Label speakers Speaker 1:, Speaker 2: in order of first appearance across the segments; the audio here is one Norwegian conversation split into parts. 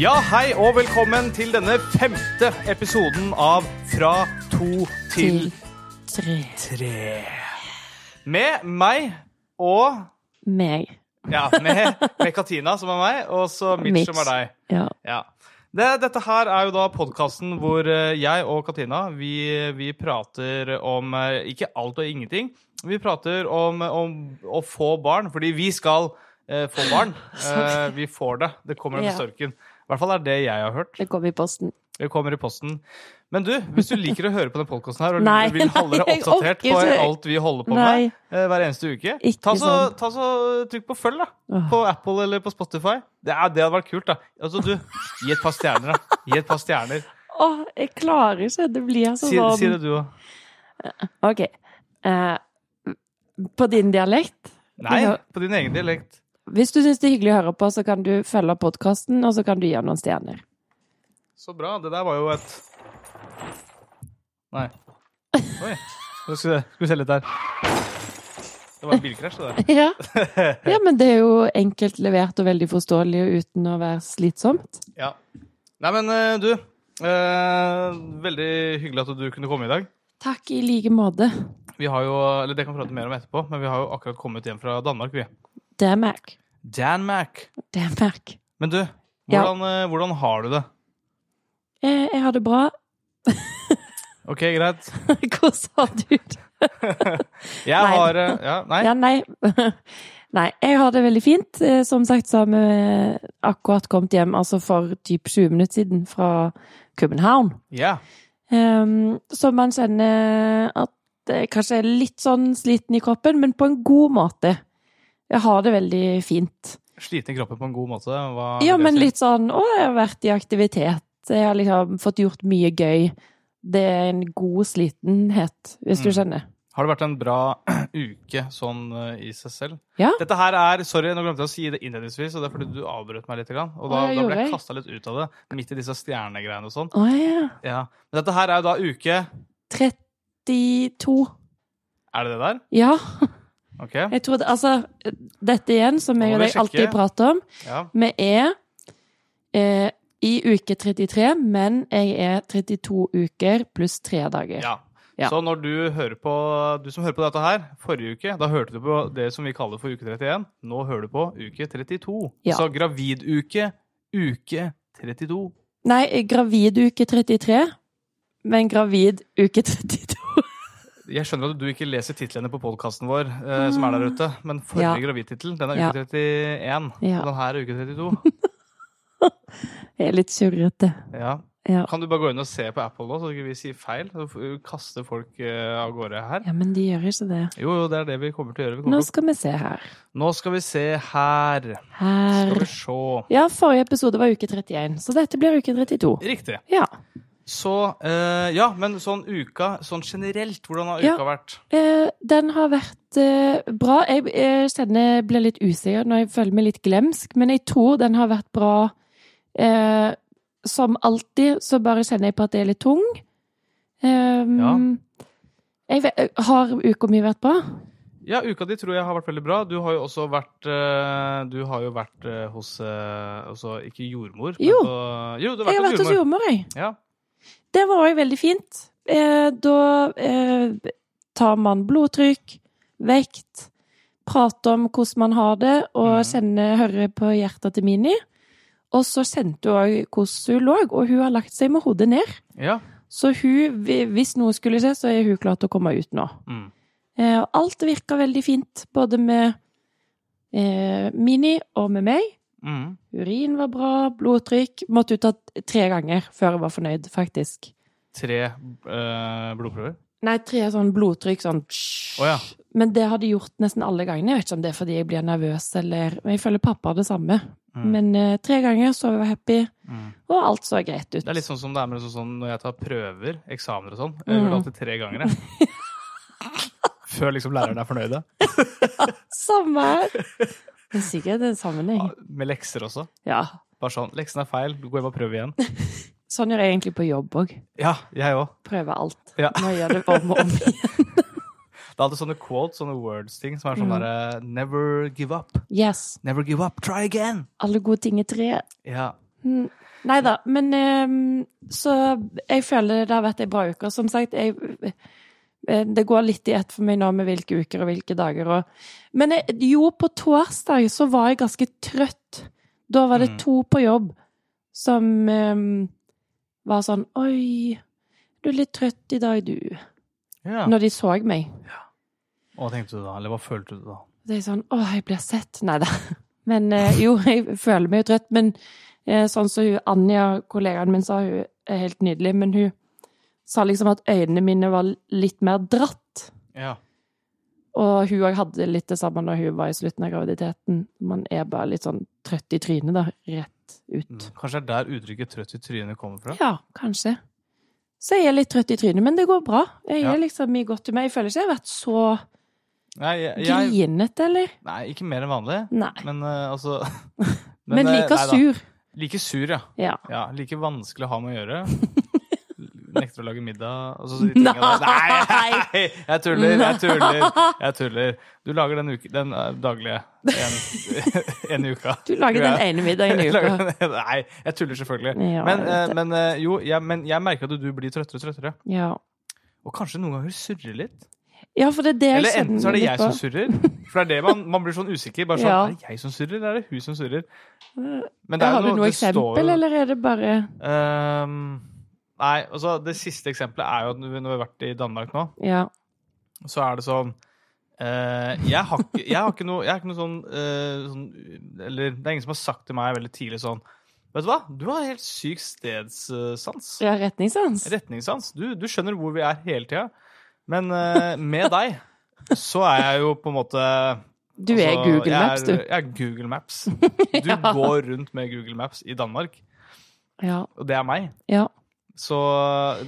Speaker 1: Ja, hei og velkommen til denne femte episoden av Fra to til
Speaker 2: til tre.
Speaker 1: tre. Med meg og
Speaker 2: Meg.
Speaker 1: Ja, med, med Katina, som er meg, og så Mitch,
Speaker 2: Mitch.
Speaker 1: som er deg.
Speaker 2: Ja.
Speaker 1: Ja. Det, dette her er jo da podkasten hvor eh, jeg og Katina vi, vi prater om eh, ikke alt og ingenting. Vi prater om, om å få barn, fordi vi skal eh, få barn. Eh, vi får det. Det kommer med
Speaker 2: Ja.
Speaker 1: storken. I hvert fall er det jeg har hørt.
Speaker 2: Det kom i posten.
Speaker 1: Det kommer i posten. Men du, hvis du liker å høre på den podkasten her, og
Speaker 2: Nei,
Speaker 1: vil holde deg
Speaker 2: nei, jeg
Speaker 1: oppdatert på
Speaker 2: orker ikke.
Speaker 1: alt vi holder på med
Speaker 2: Nei.
Speaker 1: eh, hver eneste uke,
Speaker 2: Ikke
Speaker 1: ta så,
Speaker 2: sånn.
Speaker 1: ta så trykk på følg, da.
Speaker 2: Åh.
Speaker 1: På Apple eller på Spotify. Det, er, det hadde vært kult, da. Altså, du, gi et par stjerner, da. Gi et par stjerner.
Speaker 2: Åh, jeg klarer ikke. Det blir så
Speaker 1: Si,
Speaker 2: sånn
Speaker 1: si det, du òg.
Speaker 2: OK. Eh, på din dialekt.
Speaker 1: Nei,
Speaker 2: Ja.
Speaker 1: på din egen dialekt.
Speaker 2: Hvis du syns det er hyggelig å høre på, så kan du følge podkasten, og så kan du gi den noen stjerner.
Speaker 1: Så bra. Det der var jo et Nei. Oi. Nå Skal vi- skal vi se litt der. Det var en bilkrasj, det der.
Speaker 2: Ja. ja, men det er jo enkelt levert og veldig forståelig og uten å være slitsomt.
Speaker 1: Ja. Nei, men eh, du. eh, veldig hyggelig at du kunne komme i dag.
Speaker 2: Takk i like måte.
Speaker 1: Vi har jo, eller Det kan vi prate mer om etterpå, men vi har jo akkurat kommet hjem fra Danmark. vi.
Speaker 2: Det er Mac.
Speaker 1: Danmark.
Speaker 2: Det er Mac.
Speaker 1: Men du,
Speaker 2: Ja.
Speaker 1: hvordan, eh, hvordan har du det?
Speaker 2: Eh, jeg har det bra.
Speaker 1: OK, greit.
Speaker 2: Hvordan har du det?
Speaker 1: Jeg
Speaker 2: Nei.
Speaker 1: har eh, ja, Nei?
Speaker 2: Ja, nei. nei, jeg har det veldig fint. Eh, Som sagt så har vi eh, akkurat kommet hjem, altså for typ 20 minutter siden, fra København.
Speaker 1: Ja.
Speaker 2: Ehm, så man kjenner at jeg kanskje er litt sånn sliten i kroppen, men på en god måte. Jeg har det veldig fint.
Speaker 1: Sliten i kroppen på en god måte. Hva
Speaker 2: Ja,
Speaker 1: vil jeg
Speaker 2: men
Speaker 1: si?
Speaker 2: litt sånn Å, jeg har vært i aktivitet. Jeg har liksom fått gjort mye gøy. Det er en god slitenhet, hvis du
Speaker 1: Mm.
Speaker 2: skjønner.
Speaker 1: Har det vært en bra uke sånn eh, i seg selv?
Speaker 2: Ja.
Speaker 1: Dette her er, Sorry, nå glemte jeg å si det innledningsvis, og det er fordi du avbrøt meg litt. grann, Og da,
Speaker 2: Å, jeg
Speaker 1: da
Speaker 2: gjorde
Speaker 1: ble jeg
Speaker 2: det.
Speaker 1: kasta litt ut av det, midt i disse stjernegreiene og sånn.
Speaker 2: Å ja.
Speaker 1: Ja. Men dette her er jo da uke
Speaker 2: 32.
Speaker 1: Er det det der?
Speaker 2: Ja.
Speaker 1: OK.
Speaker 2: Jeg tror det, altså, dette igjen, som jeg
Speaker 1: Nå
Speaker 2: og
Speaker 1: må
Speaker 2: deg
Speaker 1: vi
Speaker 2: alltid
Speaker 1: sjekke.
Speaker 2: prater om,
Speaker 1: Ja.
Speaker 2: vi er eh, i uke 33, men jeg er 32 uker pluss tre dager.
Speaker 1: Ja.
Speaker 2: Ja.
Speaker 1: Så når du hører på Du som hører på dette her, forrige uke, da hørte du på det som vi kaller for uke 31. Nå hører du på uke 32.
Speaker 2: Ja.
Speaker 1: Så graviduke, uke 32.
Speaker 2: Nei, gravid uke 33, men gravid uke 32.
Speaker 1: Jeg skjønner at du ikke leser titlene på podkasten vår, eh, som er der ute, men forrige
Speaker 2: Mm. Ja.
Speaker 1: gravidtittel, den er
Speaker 2: Ja.
Speaker 1: uke 31.
Speaker 2: Ja.
Speaker 1: Den her er uke 32.
Speaker 2: Jeg er litt surrete.
Speaker 1: Ja.
Speaker 2: Ja.
Speaker 1: Kan du bare gå inn og se på Apple nå, så ikke vi sier feil? Så f- kaster folk eh, av gårde her.
Speaker 2: ja, men de gjør ikke det.
Speaker 1: Jo, jo, det er det vi kommer til å gjøre. Vi
Speaker 2: Nå
Speaker 1: kommer til
Speaker 2: skal vi se her.
Speaker 1: å- Nå skal vi se her.
Speaker 2: Her.
Speaker 1: Skal vi se.
Speaker 2: Ja, forrige episode var uke 31, så dette blir uke 32.
Speaker 1: Riktig.
Speaker 2: Ja.
Speaker 1: Så eh, Ja, men sånn uka sånn generelt, hvordan har uka
Speaker 2: Ja.
Speaker 1: vært?
Speaker 2: Eh, den har vært eh, bra. Jeg, jeg kjenner jeg blir litt usikker når jeg føler meg litt glemsk, men jeg tror den har vært bra. Eh, som alltid så bare kjenner jeg på at jeg er litt tung. Eh,
Speaker 1: Ja.
Speaker 2: jeg vet, har uka mi vært bra?
Speaker 1: Ja, uka di tror jeg har vært veldig bra. Du har jo også vært eh, Du har jo vært eh, hos eh, altså, Ikke jordmor, men
Speaker 2: Jo.
Speaker 1: På, jo, du har vært,
Speaker 2: Jeg har vært hos jordmor, jeg.
Speaker 1: Ja.
Speaker 2: Det var òg veldig fint. Eh, da eh, tar man blodtrykk, vekt, prater om hvordan man har det, og
Speaker 1: Mhm.
Speaker 2: kjenner, hører på hjertet til Mini. Og så kjente hun òg hvordan hun lå, og hun har lagt seg med hodet ned.
Speaker 1: ja.
Speaker 2: Så hun, hvis noe skulle skje, så er hun klar til å komme ut nå.
Speaker 1: Mm.
Speaker 2: Eh, og alt virka veldig fint, både med eh, Mini og med meg.
Speaker 1: Mm.
Speaker 2: Urin var bra, blodtrykk Måtte ut av tre ganger før jeg var fornøyd, faktisk.
Speaker 1: Tre eh, blodprøver.
Speaker 2: Nei, tre sånn blodtrykk, sånn
Speaker 1: Å ja.
Speaker 2: Men det har de gjort nesten alle gangene. Jeg vet ikke om det er fordi jeg blir nervøs, eller Men Jeg føler pappa har det samme.
Speaker 1: Mm.
Speaker 2: Men eh, tre ganger, så var jeg happy,
Speaker 1: Mm.
Speaker 2: og alt så greit ut.
Speaker 1: Det er litt sånn som det er med sånn, sånn når jeg tar prøver, eksamener og sånn. Jeg gjør det
Speaker 2: Mm.
Speaker 1: alltid tre ganger, jeg. Før liksom læreren er fornøyde.
Speaker 2: Samme her! Det er sikkert en sammenheng.
Speaker 1: Ja, Med lekser også.
Speaker 2: Ja.
Speaker 1: Bare sånn. Leksen er feil, gå hjem og prøv igjen.
Speaker 2: Sånn gjør jeg egentlig på jobb òg.
Speaker 1: Ja, jeg òg.
Speaker 2: Prøver alt.
Speaker 1: Ja.
Speaker 2: Må gjøre det om og om igjen.
Speaker 1: Det er alltid sånne quotes, sånne words-ting, som er sånn
Speaker 2: Mm.
Speaker 1: derre Never give up.
Speaker 2: Yes.
Speaker 1: Never give up. Try again.
Speaker 2: Alle gode ting er tre.
Speaker 1: Ja.
Speaker 2: Nei da, Mm. men ehm, så jeg føler det har vært ei bra uke. Og som sagt, jeg, eh, det går litt i ett for meg nå med hvilke uker og hvilke dager og Men jeg, jo, på torsdag så var jeg ganske trøtt. Da var det
Speaker 1: Mm.
Speaker 2: to på jobb som ehm, var sånn Oi, du er litt trøtt i dag, du.
Speaker 1: Ja.
Speaker 2: Når de så meg.
Speaker 1: Hva tenkte du da? Eller hva følte du da?
Speaker 2: Det er sånn Å, jeg blir sett. Nei da. Men eh, jo, jeg føler meg jo trøtt. Men eh, sånn som hun Anja, kollegaen min, sa, hun er helt nydelig. Men hun sa liksom at øynene mine var litt mer dratt.
Speaker 1: Ja.
Speaker 2: Og hun òg hadde litt det samme når hun var i slutten av graviditeten. Man er bare litt sånn trøtt i trynet, da. Rett
Speaker 1: Mm.
Speaker 2: ut.
Speaker 1: Kanskje det er der uttrykket 'trøtt i trynet' kommer fra?
Speaker 2: Ja, kanskje. Så jeg er litt trøtt i trynet, men det går bra. Jeg
Speaker 1: Ja.
Speaker 2: er liksom i godt humør. Jeg føler ikke jeg har vært så
Speaker 1: Nei, jeg, jeg,
Speaker 2: grinete, eller?
Speaker 1: nei ikke mer enn vanlig.
Speaker 2: Nei.
Speaker 1: Men eh, altså
Speaker 2: Men,
Speaker 1: eh, nei
Speaker 2: like
Speaker 1: da.
Speaker 2: sur.
Speaker 1: Like sur, ja.
Speaker 2: Ja.
Speaker 1: ja. Like vanskelig å ha med å gjøre. Nekter å lage middag og så de tingene der.
Speaker 2: Nei!
Speaker 1: Nei! Jeg tuller, jeg tuller. Jeg tuller. Du lager den, uke, den eh, daglige en, en i uka.
Speaker 2: Du lager
Speaker 1: Ja.
Speaker 2: den ene middagen i uka.
Speaker 1: Lager den- Nei, jeg tuller selvfølgelig.
Speaker 2: Ja,
Speaker 1: men,
Speaker 2: jeg
Speaker 1: eh,
Speaker 2: vet det.
Speaker 1: men eh, jo, jeg, men jeg merker at du blir trøttere og trøttere.
Speaker 2: Ja.
Speaker 1: Og kanskje noen ganger surrer litt.
Speaker 2: ja, for det er det jeg
Speaker 1: Eller enten så er det
Speaker 2: litt
Speaker 1: jeg
Speaker 2: på.
Speaker 1: som surrer. For det er det man, man blir sånn usikker. Bare sånn,
Speaker 2: Ja. Eh,
Speaker 1: Er det jeg som surrer, eller er det hun som surrer? Men
Speaker 2: Har du noe
Speaker 1: det står
Speaker 2: eksempel,
Speaker 1: jo-
Speaker 2: eller er det bare
Speaker 1: Ehm, nei, altså det siste eksempelet er jo at når vi har vært i Danmark nå,
Speaker 2: Ja.
Speaker 1: så er det sånn eh, jeg, har ikke, jeg har ikke noe, jeg har ikke noe sånn, eh, sånn Eller det er ingen som har sagt til meg veldig tidlig sånn Vet du hva? Du har helt syk stedssans.
Speaker 2: ja retningssans?
Speaker 1: Retningssans. Du, du skjønner hvor vi er hele tida. Men eh, med deg så er jeg jo på en måte
Speaker 2: Du er
Speaker 1: altså,
Speaker 2: Google
Speaker 1: jeg
Speaker 2: Maps,
Speaker 1: er-
Speaker 2: du.
Speaker 1: Jeg er Google Maps. Du går rundt med Google Maps i Danmark,
Speaker 2: Ja.
Speaker 1: og det er meg.
Speaker 2: ja.
Speaker 1: Så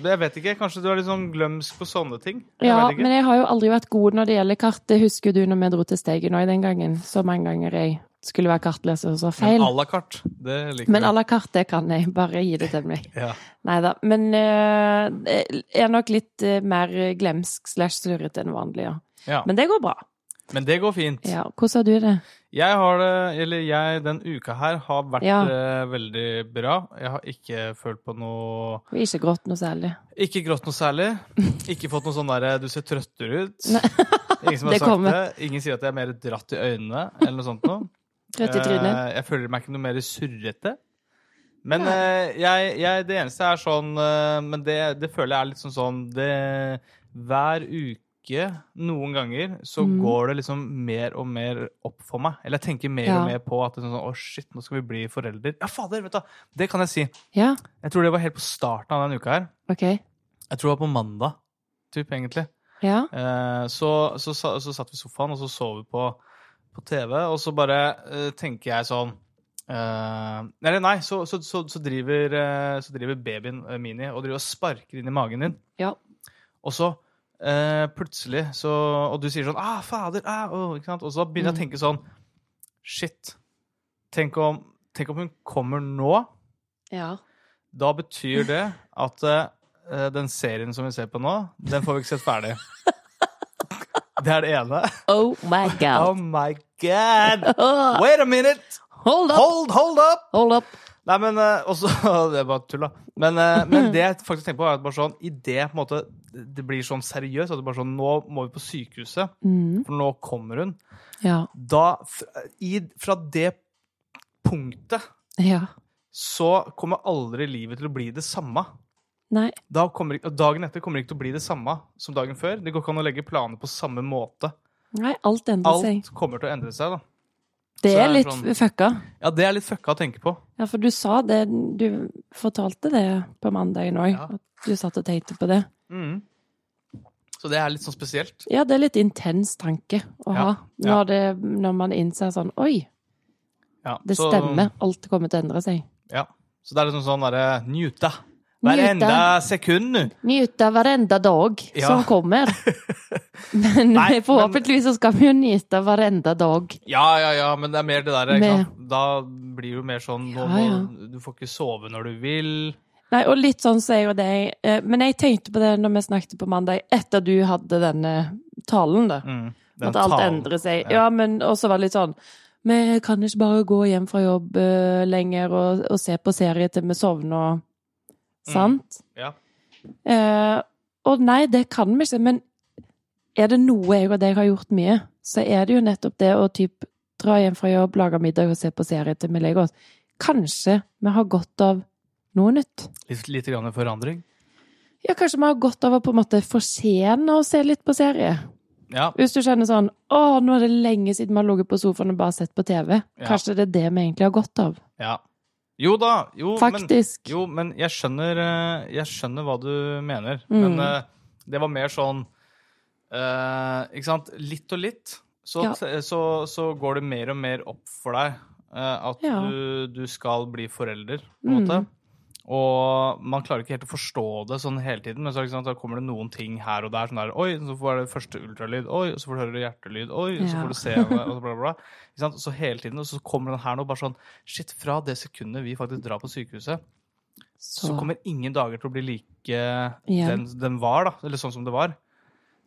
Speaker 1: det- jeg vet ikke. Kanskje du er litt sånn glømsk på sånne ting? Jeg
Speaker 2: Ja,
Speaker 1: vet ikke.
Speaker 2: men jeg har jo aldri vært god når det gjelder kart. Det husker du når vi dro til Stegen òg den gangen. Så mange ganger jeg skulle være kartleser og så feil.
Speaker 1: Men à la carte. Det liker
Speaker 2: Men
Speaker 1: du.
Speaker 2: à la carte, det kan jeg. Bare gi det til meg.
Speaker 1: Ja.
Speaker 2: Nei da. Men eh, jeg er nok litt eh, mer glemsk slash slurrete enn vanlig, ja.
Speaker 1: Ja. Men,
Speaker 2: Men det går bra.
Speaker 1: det går fint.
Speaker 2: Ja. Hvordan har du det?
Speaker 1: Jeg har det, eller jeg den uka her har vært
Speaker 2: Ja.
Speaker 1: eh, veldig bra. Jeg har ikke følt på noe
Speaker 2: Du har ikke grått noe særlig.
Speaker 1: Ikke grått noe særlig. Ikke fått noe sånn derre 'du ser trøttere ut'.
Speaker 2: Nei.
Speaker 1: Ingen som har
Speaker 2: Det
Speaker 1: sagt
Speaker 2: kommer.
Speaker 1: det. Ingen sier at jeg er mer dratt i øynene eller noe sånt noe.
Speaker 2: Trøtt i trynet?
Speaker 1: Eh, Jeg føler meg ikke noe mer surrete. Men eh, jeg, jeg, det eneste er sånn eh, Men det, det føler jeg er litt sånn sånn det, Hver uke, noen ganger, så
Speaker 2: Mm.
Speaker 1: går det liksom mer og mer opp for meg. Eller jeg tenker mer
Speaker 2: Ja.
Speaker 1: og mer på at det er sånn, å shit, nå skal vi bli forelder. Ja, fader! vet du, Det kan jeg si.
Speaker 2: Ja,
Speaker 1: Jeg tror det var helt på starten av denne uka her.
Speaker 2: ok.
Speaker 1: Jeg tror det var på mandag, typ, egentlig.
Speaker 2: Ja.
Speaker 1: Eh, så, så, sa- så satt vi i sofaen, og så så vi på, på TV, og så bare eh, tenker jeg sånn eh, Eller nei, så, så, så, så, driver, eh, så driver babyen eh, Mini og driver og sparker inn i magen din.
Speaker 2: Ja.
Speaker 1: Og så eh, plutselig så Og du sier sånn ah, 'Fader!' Ah, åh», ikke sant? Og så begynner jeg å
Speaker 2: Mm.
Speaker 1: tenke sånn Shit. Tenk om, tenk om hun kommer nå.
Speaker 2: Ja.
Speaker 1: Da betyr det at eh, den serien som vi ser på nå, den får vi ikke sett ferdig. Det er det ene.
Speaker 2: Oh my
Speaker 1: Oh
Speaker 2: god.
Speaker 1: my god!
Speaker 2: Åh,
Speaker 1: Wait a minute!
Speaker 2: hold up!
Speaker 1: Hold, hold up!
Speaker 2: Hold up!
Speaker 1: Nei, men eh, også, Det er bare tull, da. Men, eh, men det jeg faktisk tenker på, er at bare sånn, i det på en måte, det blir sånn seriøst at det bare sånn, Nå må vi på sykehuset,
Speaker 2: Mm,
Speaker 1: for nå kommer hun.
Speaker 2: ja.
Speaker 1: Da, fra, i, fra det punktet,
Speaker 2: Ja.
Speaker 1: så kommer aldri livet til å bli det samme.
Speaker 2: Nei.
Speaker 1: da kommer, ikke- og dagen etter kommer det ikke til å bli det samme som dagen før. Det går ikke an å legge planer på samme måte.
Speaker 2: Nei, alt endrer seg.
Speaker 1: Alt kommer til å endre seg, da.
Speaker 2: Det
Speaker 1: så er det
Speaker 2: er litt
Speaker 1: sånn-
Speaker 2: fucka.
Speaker 1: Ja, det er litt fucka å tenke på.
Speaker 2: Ja, for du sa det Du fortalte det på mandagen òg.
Speaker 1: Ja.
Speaker 2: At du satt og tenkte på det.
Speaker 1: Mhm. Så det er litt sånn spesielt.
Speaker 2: Ja, det er litt intens tanke å ha.
Speaker 1: Ja, ja.
Speaker 2: Når, det, når man innser sånn Oi,
Speaker 1: Ja,
Speaker 2: det
Speaker 1: så-
Speaker 2: stemmer. Alt kommer til å endre seg.
Speaker 1: Ja. Så det er liksom sånn derre Njuta. Hver
Speaker 2: Njuta.
Speaker 1: enda sekund nå.
Speaker 2: Nyte av hverenda dag
Speaker 1: Ja.
Speaker 2: som kommer. Men
Speaker 1: Nei, men-
Speaker 2: forhåpentligvis så skal vi jo nyte av hverenda dag.
Speaker 1: Ja, ja, ja, men det er mer det der. Ikke
Speaker 2: Med-
Speaker 1: sant? Da blir det jo mer sånn nå
Speaker 2: Ja,
Speaker 1: må, Du får ikke sove når du vil.
Speaker 2: Nei, og litt sånn sier jo deg. eh, Men jeg tenkte på det når vi snakket på mandag, etter du hadde denne talen, da.
Speaker 1: Mm. Den
Speaker 2: At alt
Speaker 1: talen.
Speaker 2: endrer seg.
Speaker 1: ja.
Speaker 2: Ja, men også var det litt sånn Vi kan ikke bare gå hjem fra jobb eh, lenger og, og se på serie til vi sovner og Sant?
Speaker 1: Mm. ja.
Speaker 2: Eh, og nei, det kan vi ikke, men er det noe jeg og deg har gjort mye, så er det jo nettopp det å typ dra hjem fra jobb, lage middag og se på serie til vi legger oss. Kanskje vi har godt av noe nytt?
Speaker 1: Litt, litt grann forandring.
Speaker 2: Ja, kanskje vi har godt av å på en måte forsene å se litt på serie.
Speaker 1: Ja.
Speaker 2: Hvis du kjenner sånn 'Å, nå er det lenge siden vi har ligget på sofaen og bare sett på TV'.
Speaker 1: Ja.
Speaker 2: Kanskje det er det vi egentlig har godt av.
Speaker 1: ja. Jo da. Jo, men
Speaker 2: Faktisk.
Speaker 1: Jo, men jeg skjønner, eh, jeg skjønner hva du mener.
Speaker 2: Mm.
Speaker 1: Men eh, det var mer sånn eh, Ikke sant? Litt og litt, så,
Speaker 2: Ja.
Speaker 1: t- så, så går det mer og mer opp for deg eh, at
Speaker 2: Ja.
Speaker 1: du, du skal bli forelder, på en
Speaker 2: Mm.
Speaker 1: måte. Og man klarer ikke helt å forstå det sånn hele tiden, men så, er det ikke sant, da kommer det noen ting her og der. sånn der, Oi, så får du det første ultralyd. Oi, så får du høre hjertelyd. Oi, så
Speaker 2: Ja.
Speaker 1: får du se og bla, bla, bla. Ikke sant? Så hele tiden, og så kommer den her nå bare sånn Shit, fra det sekundet vi faktisk drar på sykehuset, så,
Speaker 2: Så-
Speaker 1: kommer ingen dager til å bli like den, den var, da. Eller sånn som det var.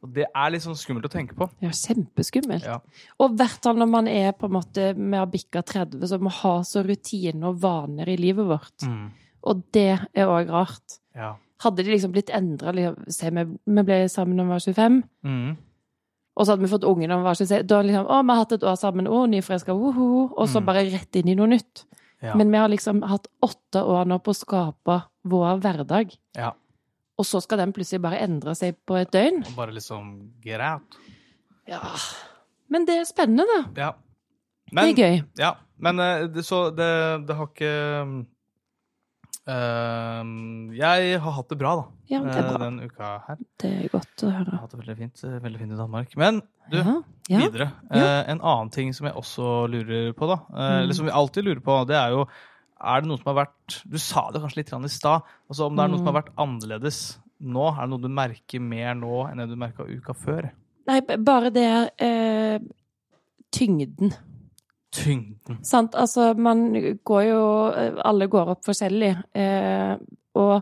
Speaker 1: Og det er litt sånn skummelt å tenke på.
Speaker 2: Ja, kjempeskummelt.
Speaker 1: Ja.
Speaker 2: Og i hvert fall når man er på en måte Vi har bikka 30, så vi har så rutiner og vaner i livet vårt.
Speaker 1: Mm.
Speaker 2: Og det er òg rart.
Speaker 1: Ja.
Speaker 2: Hadde de liksom blitt endra liksom, Se, vi, vi ble sammen da vi var 25,
Speaker 1: Mm.
Speaker 2: og så hadde vi fått unge da vi var 26. Da liksom Å, vi har hatt et år sammen, å, nyforelska, woho. Og så
Speaker 1: Mm.
Speaker 2: bare rett inn i noe nytt.
Speaker 1: Ja.
Speaker 2: Men vi har liksom hatt åtte år nå på å skape vår hverdag.
Speaker 1: Ja.
Speaker 2: Og så skal den plutselig bare endre seg på et døgn?
Speaker 1: Og bare liksom get out.
Speaker 2: Ja. Men det er spennende, da.
Speaker 1: Ja.
Speaker 2: det er gøy.
Speaker 1: Ja, men eh, det, så det, det har ikke eh, Jeg har hatt det bra, da.
Speaker 2: Ja, det er
Speaker 1: eh,
Speaker 2: bra.
Speaker 1: Den uka her.
Speaker 2: Det er godt å
Speaker 1: Jeg
Speaker 2: høre.
Speaker 1: har hatt det veldig fint, eh, veldig fint i Danmark. Men du,
Speaker 2: ja. ja.
Speaker 1: videre. Eh, en annen ting som jeg også lurer på, da, eh,
Speaker 2: Mm.
Speaker 1: eller som vi alltid lurer på, det er jo Er det noe som har vært Du sa det kanskje litt grann i stad. Altså om det er noe som
Speaker 2: Mm.
Speaker 1: har vært annerledes nå? Er det noe du merker mer nå enn det du merka uka før?
Speaker 2: Nei, b- bare det eh, Tyngden.
Speaker 1: Tyngden.
Speaker 2: Sant? Altså, man går jo eh, Alle går opp forskjellig. Eh, og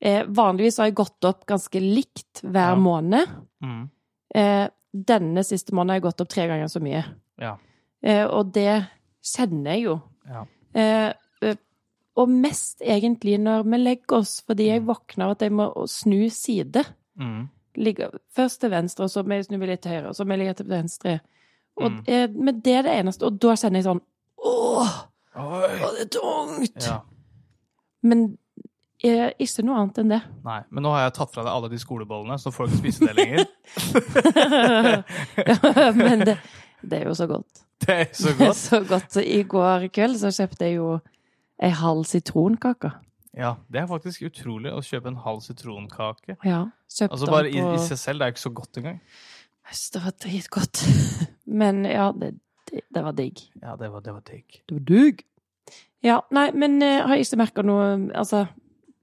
Speaker 2: eh, vanligvis har jeg gått opp ganske likt
Speaker 1: Ja.
Speaker 2: hver måned.
Speaker 1: Mm.
Speaker 2: Eh, denne siste måneden har jeg gått opp tre ganger så mye.
Speaker 1: Ja.
Speaker 2: Eh, og det kjenner jeg jo.
Speaker 1: Ja.
Speaker 2: Eh, eh, og mest egentlig når vi legger oss, fordi jeg våkner av at jeg må snu side.
Speaker 1: Mm.
Speaker 2: ligger først til venstre, og så må jeg snu meg litt til høyre, og så må jeg ligge til venstre. Og,
Speaker 1: Mm.
Speaker 2: eh, men det er det eneste, og da kjenner jeg sånn Åh,
Speaker 1: Oi.
Speaker 2: det er tungt!
Speaker 1: Ja.
Speaker 2: Men eh, ikke noe annet enn det.
Speaker 1: Nei, men nå har jeg tatt fra deg alle de skolebollene, så får du ikke spise det lenger.
Speaker 2: men det, det er jo så godt.
Speaker 1: Det er så
Speaker 2: Det er
Speaker 1: godt.
Speaker 2: så godt. Så i går kveld så kjøpte jeg jo ei halv sitronkake.
Speaker 1: Ja, det er faktisk utrolig å kjøpe en halv sitronkake.
Speaker 2: Ja. Kjøpte
Speaker 1: Altså bare i,
Speaker 2: den på
Speaker 1: i seg selv, det er ikke så godt engang.
Speaker 2: Æsj, Det var dritgodt. Men ja, det, det, det var digg.
Speaker 1: Ja, det var, det var digg.
Speaker 2: Det var dug. Ja, nei, men eh, har jeg ikke merka noe Altså,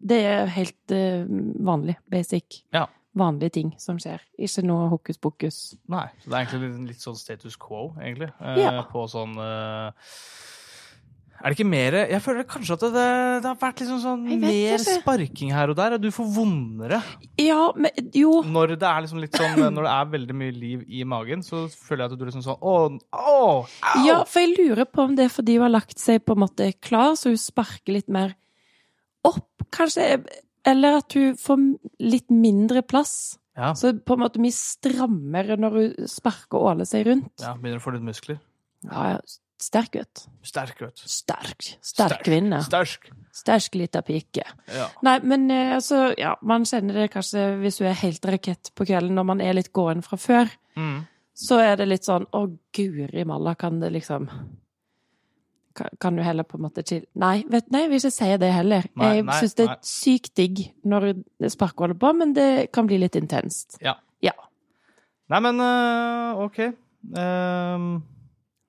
Speaker 2: det er helt eh, vanlig. Basic.
Speaker 1: Ja.
Speaker 2: Vanlige ting som skjer. Ikke noe hokus pokus.
Speaker 1: Nei, så det er egentlig litt, litt sånn status quo, egentlig. Eh,
Speaker 2: Ja.
Speaker 1: På sånn eh, Er det ikke mer Jeg føler kanskje at det, det har vært liksom sånn
Speaker 2: Jeg vet
Speaker 1: mer
Speaker 2: ikke.
Speaker 1: sparking her og der. og Du får vondere.
Speaker 2: Ja, men jo
Speaker 1: Når det er liksom litt sånn eh, Når det er veldig mye liv i magen, så føler jeg at du er liksom sånn Å, å au!
Speaker 2: Ja, for jeg lurer på om det er fordi hun har lagt seg på en måte klar, så hun sparker litt mer opp, kanskje. Eller at hun får litt mindre plass.
Speaker 1: Ja.
Speaker 2: Så på en måte mye strammere når hun sparker og åler seg rundt.
Speaker 1: ja, begynner å få litt muskler.
Speaker 2: Ja, ja. Sterk, vet du.
Speaker 1: Sterk, vet du.
Speaker 2: Sterk. Sterk kvinne.
Speaker 1: Sterk.
Speaker 2: Sterk lita pike.
Speaker 1: Ja.
Speaker 2: Nei, men eh, altså, ja, man kjenner det kanskje hvis du er helt rakett på kvelden når man er litt gåen fra før.
Speaker 1: Mm.
Speaker 2: Så er det litt sånn å, guri malla, kan det liksom Kan, kan du heller på en måte chill Nei, vet, nei, jeg vil ikke si det heller.
Speaker 1: Nei,
Speaker 2: jeg
Speaker 1: nei,
Speaker 2: syns det er
Speaker 1: nei.
Speaker 2: sykt digg når sparket holder på, men det kan bli litt intenst.
Speaker 1: Ja.
Speaker 2: Ja.
Speaker 1: Nei, men øh, OK. Ehm,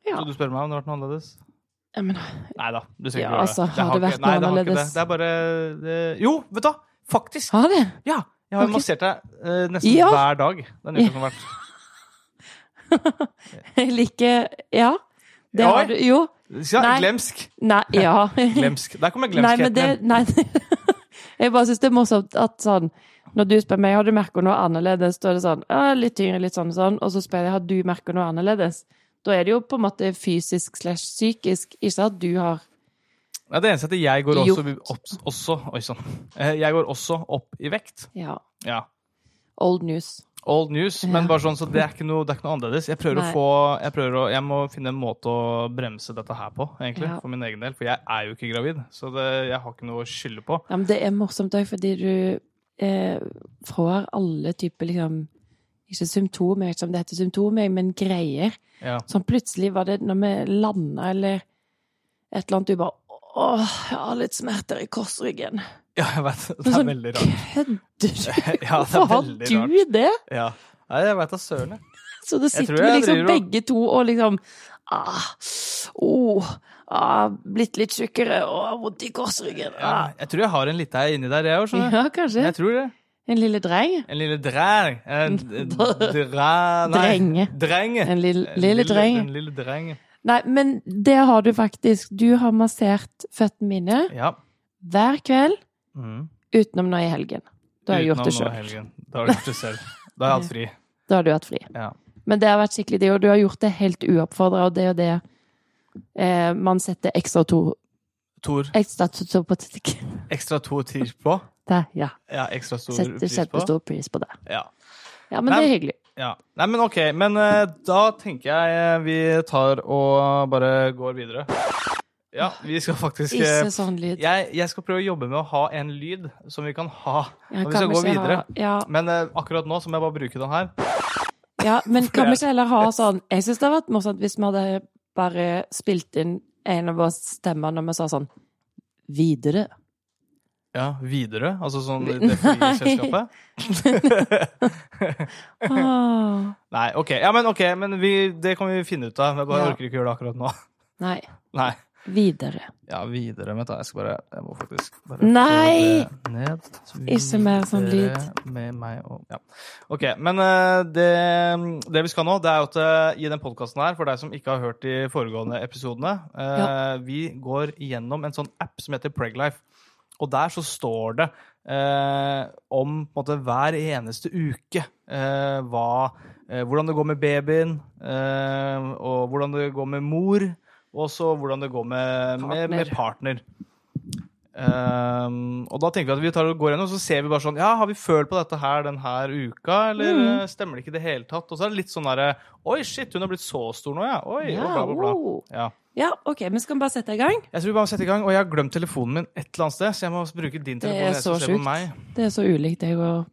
Speaker 2: Ja.
Speaker 1: Så du spør meg om det har vært noe annerledes?
Speaker 2: Ja, men,
Speaker 1: Nei da. Du trenger ikke
Speaker 2: Ja,
Speaker 1: gjøre
Speaker 2: altså,
Speaker 1: det.
Speaker 2: har det
Speaker 1: ikke-
Speaker 2: vært
Speaker 1: nei,
Speaker 2: noe
Speaker 1: det har ikke
Speaker 2: annerledes?
Speaker 1: Det. det er bare det, Jo, vet du hva! Faktisk!
Speaker 2: har det?
Speaker 1: Ja! Jeg har jo
Speaker 2: Ok.
Speaker 1: massert deg eh, nesten
Speaker 2: Ja.
Speaker 1: hver dag den uka
Speaker 2: Ja.
Speaker 1: som har vært.
Speaker 2: Jeg liker Ja. Det
Speaker 1: Oi.
Speaker 2: har du Jo.
Speaker 1: Ja,
Speaker 2: Nei.
Speaker 1: glemsk!
Speaker 2: Nei, ja.
Speaker 1: Glemsk. Der kommer
Speaker 2: Nei,
Speaker 1: glemskheten
Speaker 2: men det,
Speaker 1: igjen.
Speaker 2: nei, jeg bare syns det er morsomt at sånn Når du spør meg har du merka noe annerledes, da er det sånn «Ja, litt tyngre, litt sånn og sånn, og så spør jeg har du merka noe annerledes. Da er det jo på en måte fysisk slash psykisk, ikke at du har
Speaker 1: Ja, det eneste er at jeg går også,
Speaker 2: Gjort.
Speaker 1: opp, også Oi sann. Eh, Jeg går også opp i vekt.
Speaker 2: ja,
Speaker 1: Ja.
Speaker 2: old news.
Speaker 1: Old news,
Speaker 2: Ja.
Speaker 1: men bare sånn, så det er ikke noe, det er ikke noe annerledes. Jeg prøver
Speaker 2: Nei.
Speaker 1: å få jeg, prøver å, jeg må finne en måte å bremse dette her på, egentlig.
Speaker 2: Ja.
Speaker 1: For min egen del. For jeg er jo ikke gravid, så det, jeg har ikke noe å skylde på.
Speaker 2: Ja, men det er morsomt òg, fordi du eh, får alle typer liksom Ikke symptomer, jeg vet ikke om det heter symptomer, men greier.
Speaker 1: Ja.
Speaker 2: Sånn plutselig var det når vi landa eller et eller annet, du bare Åh, jeg har litt smerter i korsryggen.
Speaker 1: Ja, jeg vet. Det er
Speaker 2: Sånn,
Speaker 1: veldig rart.
Speaker 2: Kødder du?
Speaker 1: Ja, det
Speaker 2: Hvorfor
Speaker 1: er
Speaker 2: har
Speaker 1: veldig rart.
Speaker 2: du det?
Speaker 1: Ja. Nei, jeg veit da søren, jeg.
Speaker 2: Så da
Speaker 1: Jeg
Speaker 2: sitter
Speaker 1: tror
Speaker 2: vi
Speaker 1: jeg
Speaker 2: liksom
Speaker 1: driver og-
Speaker 2: begge to og liksom ah, oh, ah, Blitt litt tjukkere og har vondt i korsryggen.
Speaker 1: Ja,
Speaker 2: Ah.
Speaker 1: jeg tror jeg har en lita ei inni der, jeg òg, skjønner du.
Speaker 2: Ja, kanskje.
Speaker 1: Jeg tror det.
Speaker 2: En lille dreng.
Speaker 1: En lille dreng. En dræ... Nei.
Speaker 2: Drenge.
Speaker 1: Drenge.
Speaker 2: En lille, lille dreng.
Speaker 1: En lille dreng.
Speaker 2: Nei, men det har du faktisk. Du har massert føttene mine
Speaker 1: Ja.
Speaker 2: hver kveld
Speaker 1: Mm.
Speaker 2: utenom nå i helgen. Da har jeg gjort det
Speaker 1: Utenom nå i
Speaker 2: sjøl.
Speaker 1: helgen. Da har du gjort det selv. Da har jeg hatt fri.
Speaker 2: Da har du hatt fri.
Speaker 1: Ja.
Speaker 2: Men det har vært skikkelig digg, og du har gjort det helt uoppfordra, og det er jo det eh, man setter ekstra to
Speaker 1: Tor,
Speaker 2: Ekstra to, to på Det,
Speaker 1: ekstra to tirs på.
Speaker 2: ja.
Speaker 1: Ja, ekstra stor
Speaker 2: Setter
Speaker 1: pris på.
Speaker 2: kjempestor pris på det.
Speaker 1: Ja.
Speaker 2: Ja, men det er hyggelig.
Speaker 1: ja. Nei, men OK. Men eh, da tenker jeg eh, vi tar og bare går videre. Ja, vi skal faktisk eh,
Speaker 2: Ikke sånn lyd.
Speaker 1: jeg, jeg skal prøve å jobbe med å ha en lyd som vi kan ha. og
Speaker 2: Ja,
Speaker 1: vi
Speaker 2: kan
Speaker 1: skal gå
Speaker 2: ikke
Speaker 1: videre.
Speaker 2: Ha, ja,
Speaker 1: Men eh, akkurat nå så må jeg bare bruke den her.
Speaker 2: ja, men
Speaker 1: For
Speaker 2: kan
Speaker 1: jeg-
Speaker 2: vi ikke heller ha sånn Jeg syns det hadde vært morsomt hvis vi hadde bare spilt inn en av våre stemmer når vi sa sånn Videre.
Speaker 1: Ja, Widerøe, altså sånn
Speaker 2: Vi-
Speaker 1: det flyselskapet.
Speaker 2: Ah,
Speaker 1: Nei, OK. Ja, men ok, men vi, det kan vi finne ut av. Jeg bare
Speaker 2: Ja.
Speaker 1: orker ikke gjøre det akkurat nå.
Speaker 2: nei.
Speaker 1: Nei.
Speaker 2: Videre.
Speaker 1: Ja, Widerøe. Vent, da. Jeg skal bare Jeg må faktisk bare
Speaker 2: Nei!
Speaker 1: få det ned.
Speaker 2: Ikke mer sånn lyd.
Speaker 1: Widerøe Med meg og Ja. OK. Men eh, det, det vi skal nå, det er jo at eh, i den podkasten her, for deg som ikke har hørt de foregående episodene, eh, vi går gjennom en sånn app som heter Preglife. Og der så står det eh, om på en måte, hver eneste uke eh, hva, eh, hvordan det går med babyen, eh, og hvordan det går med mor, og så hvordan det går med partner. Med, med partner. Ehm, og da tenker vi at vi tar og går gjennom, så ser vi bare sånn Ja, har vi følt på dette her denne uka, eller
Speaker 2: Mm.
Speaker 1: eh, stemmer det ikke i det hele tatt? Og så er det litt sånn derre Oi, shit, hun har blitt så stor nå, ja. Oi, og
Speaker 2: Ja,
Speaker 1: bla, bla, bla.
Speaker 2: oh.
Speaker 1: Ja.
Speaker 2: ja, OK, men skal vi bare sette i gang?
Speaker 1: Jeg tror vi bare må sette i gang, og jeg har glemt telefonen min et eller annet sted, så jeg må bruke din
Speaker 2: Det
Speaker 1: telefon.
Speaker 2: er
Speaker 1: jeg skal
Speaker 2: så
Speaker 1: se på
Speaker 2: sjukt.
Speaker 1: meg.
Speaker 2: Det er så ulikt deg å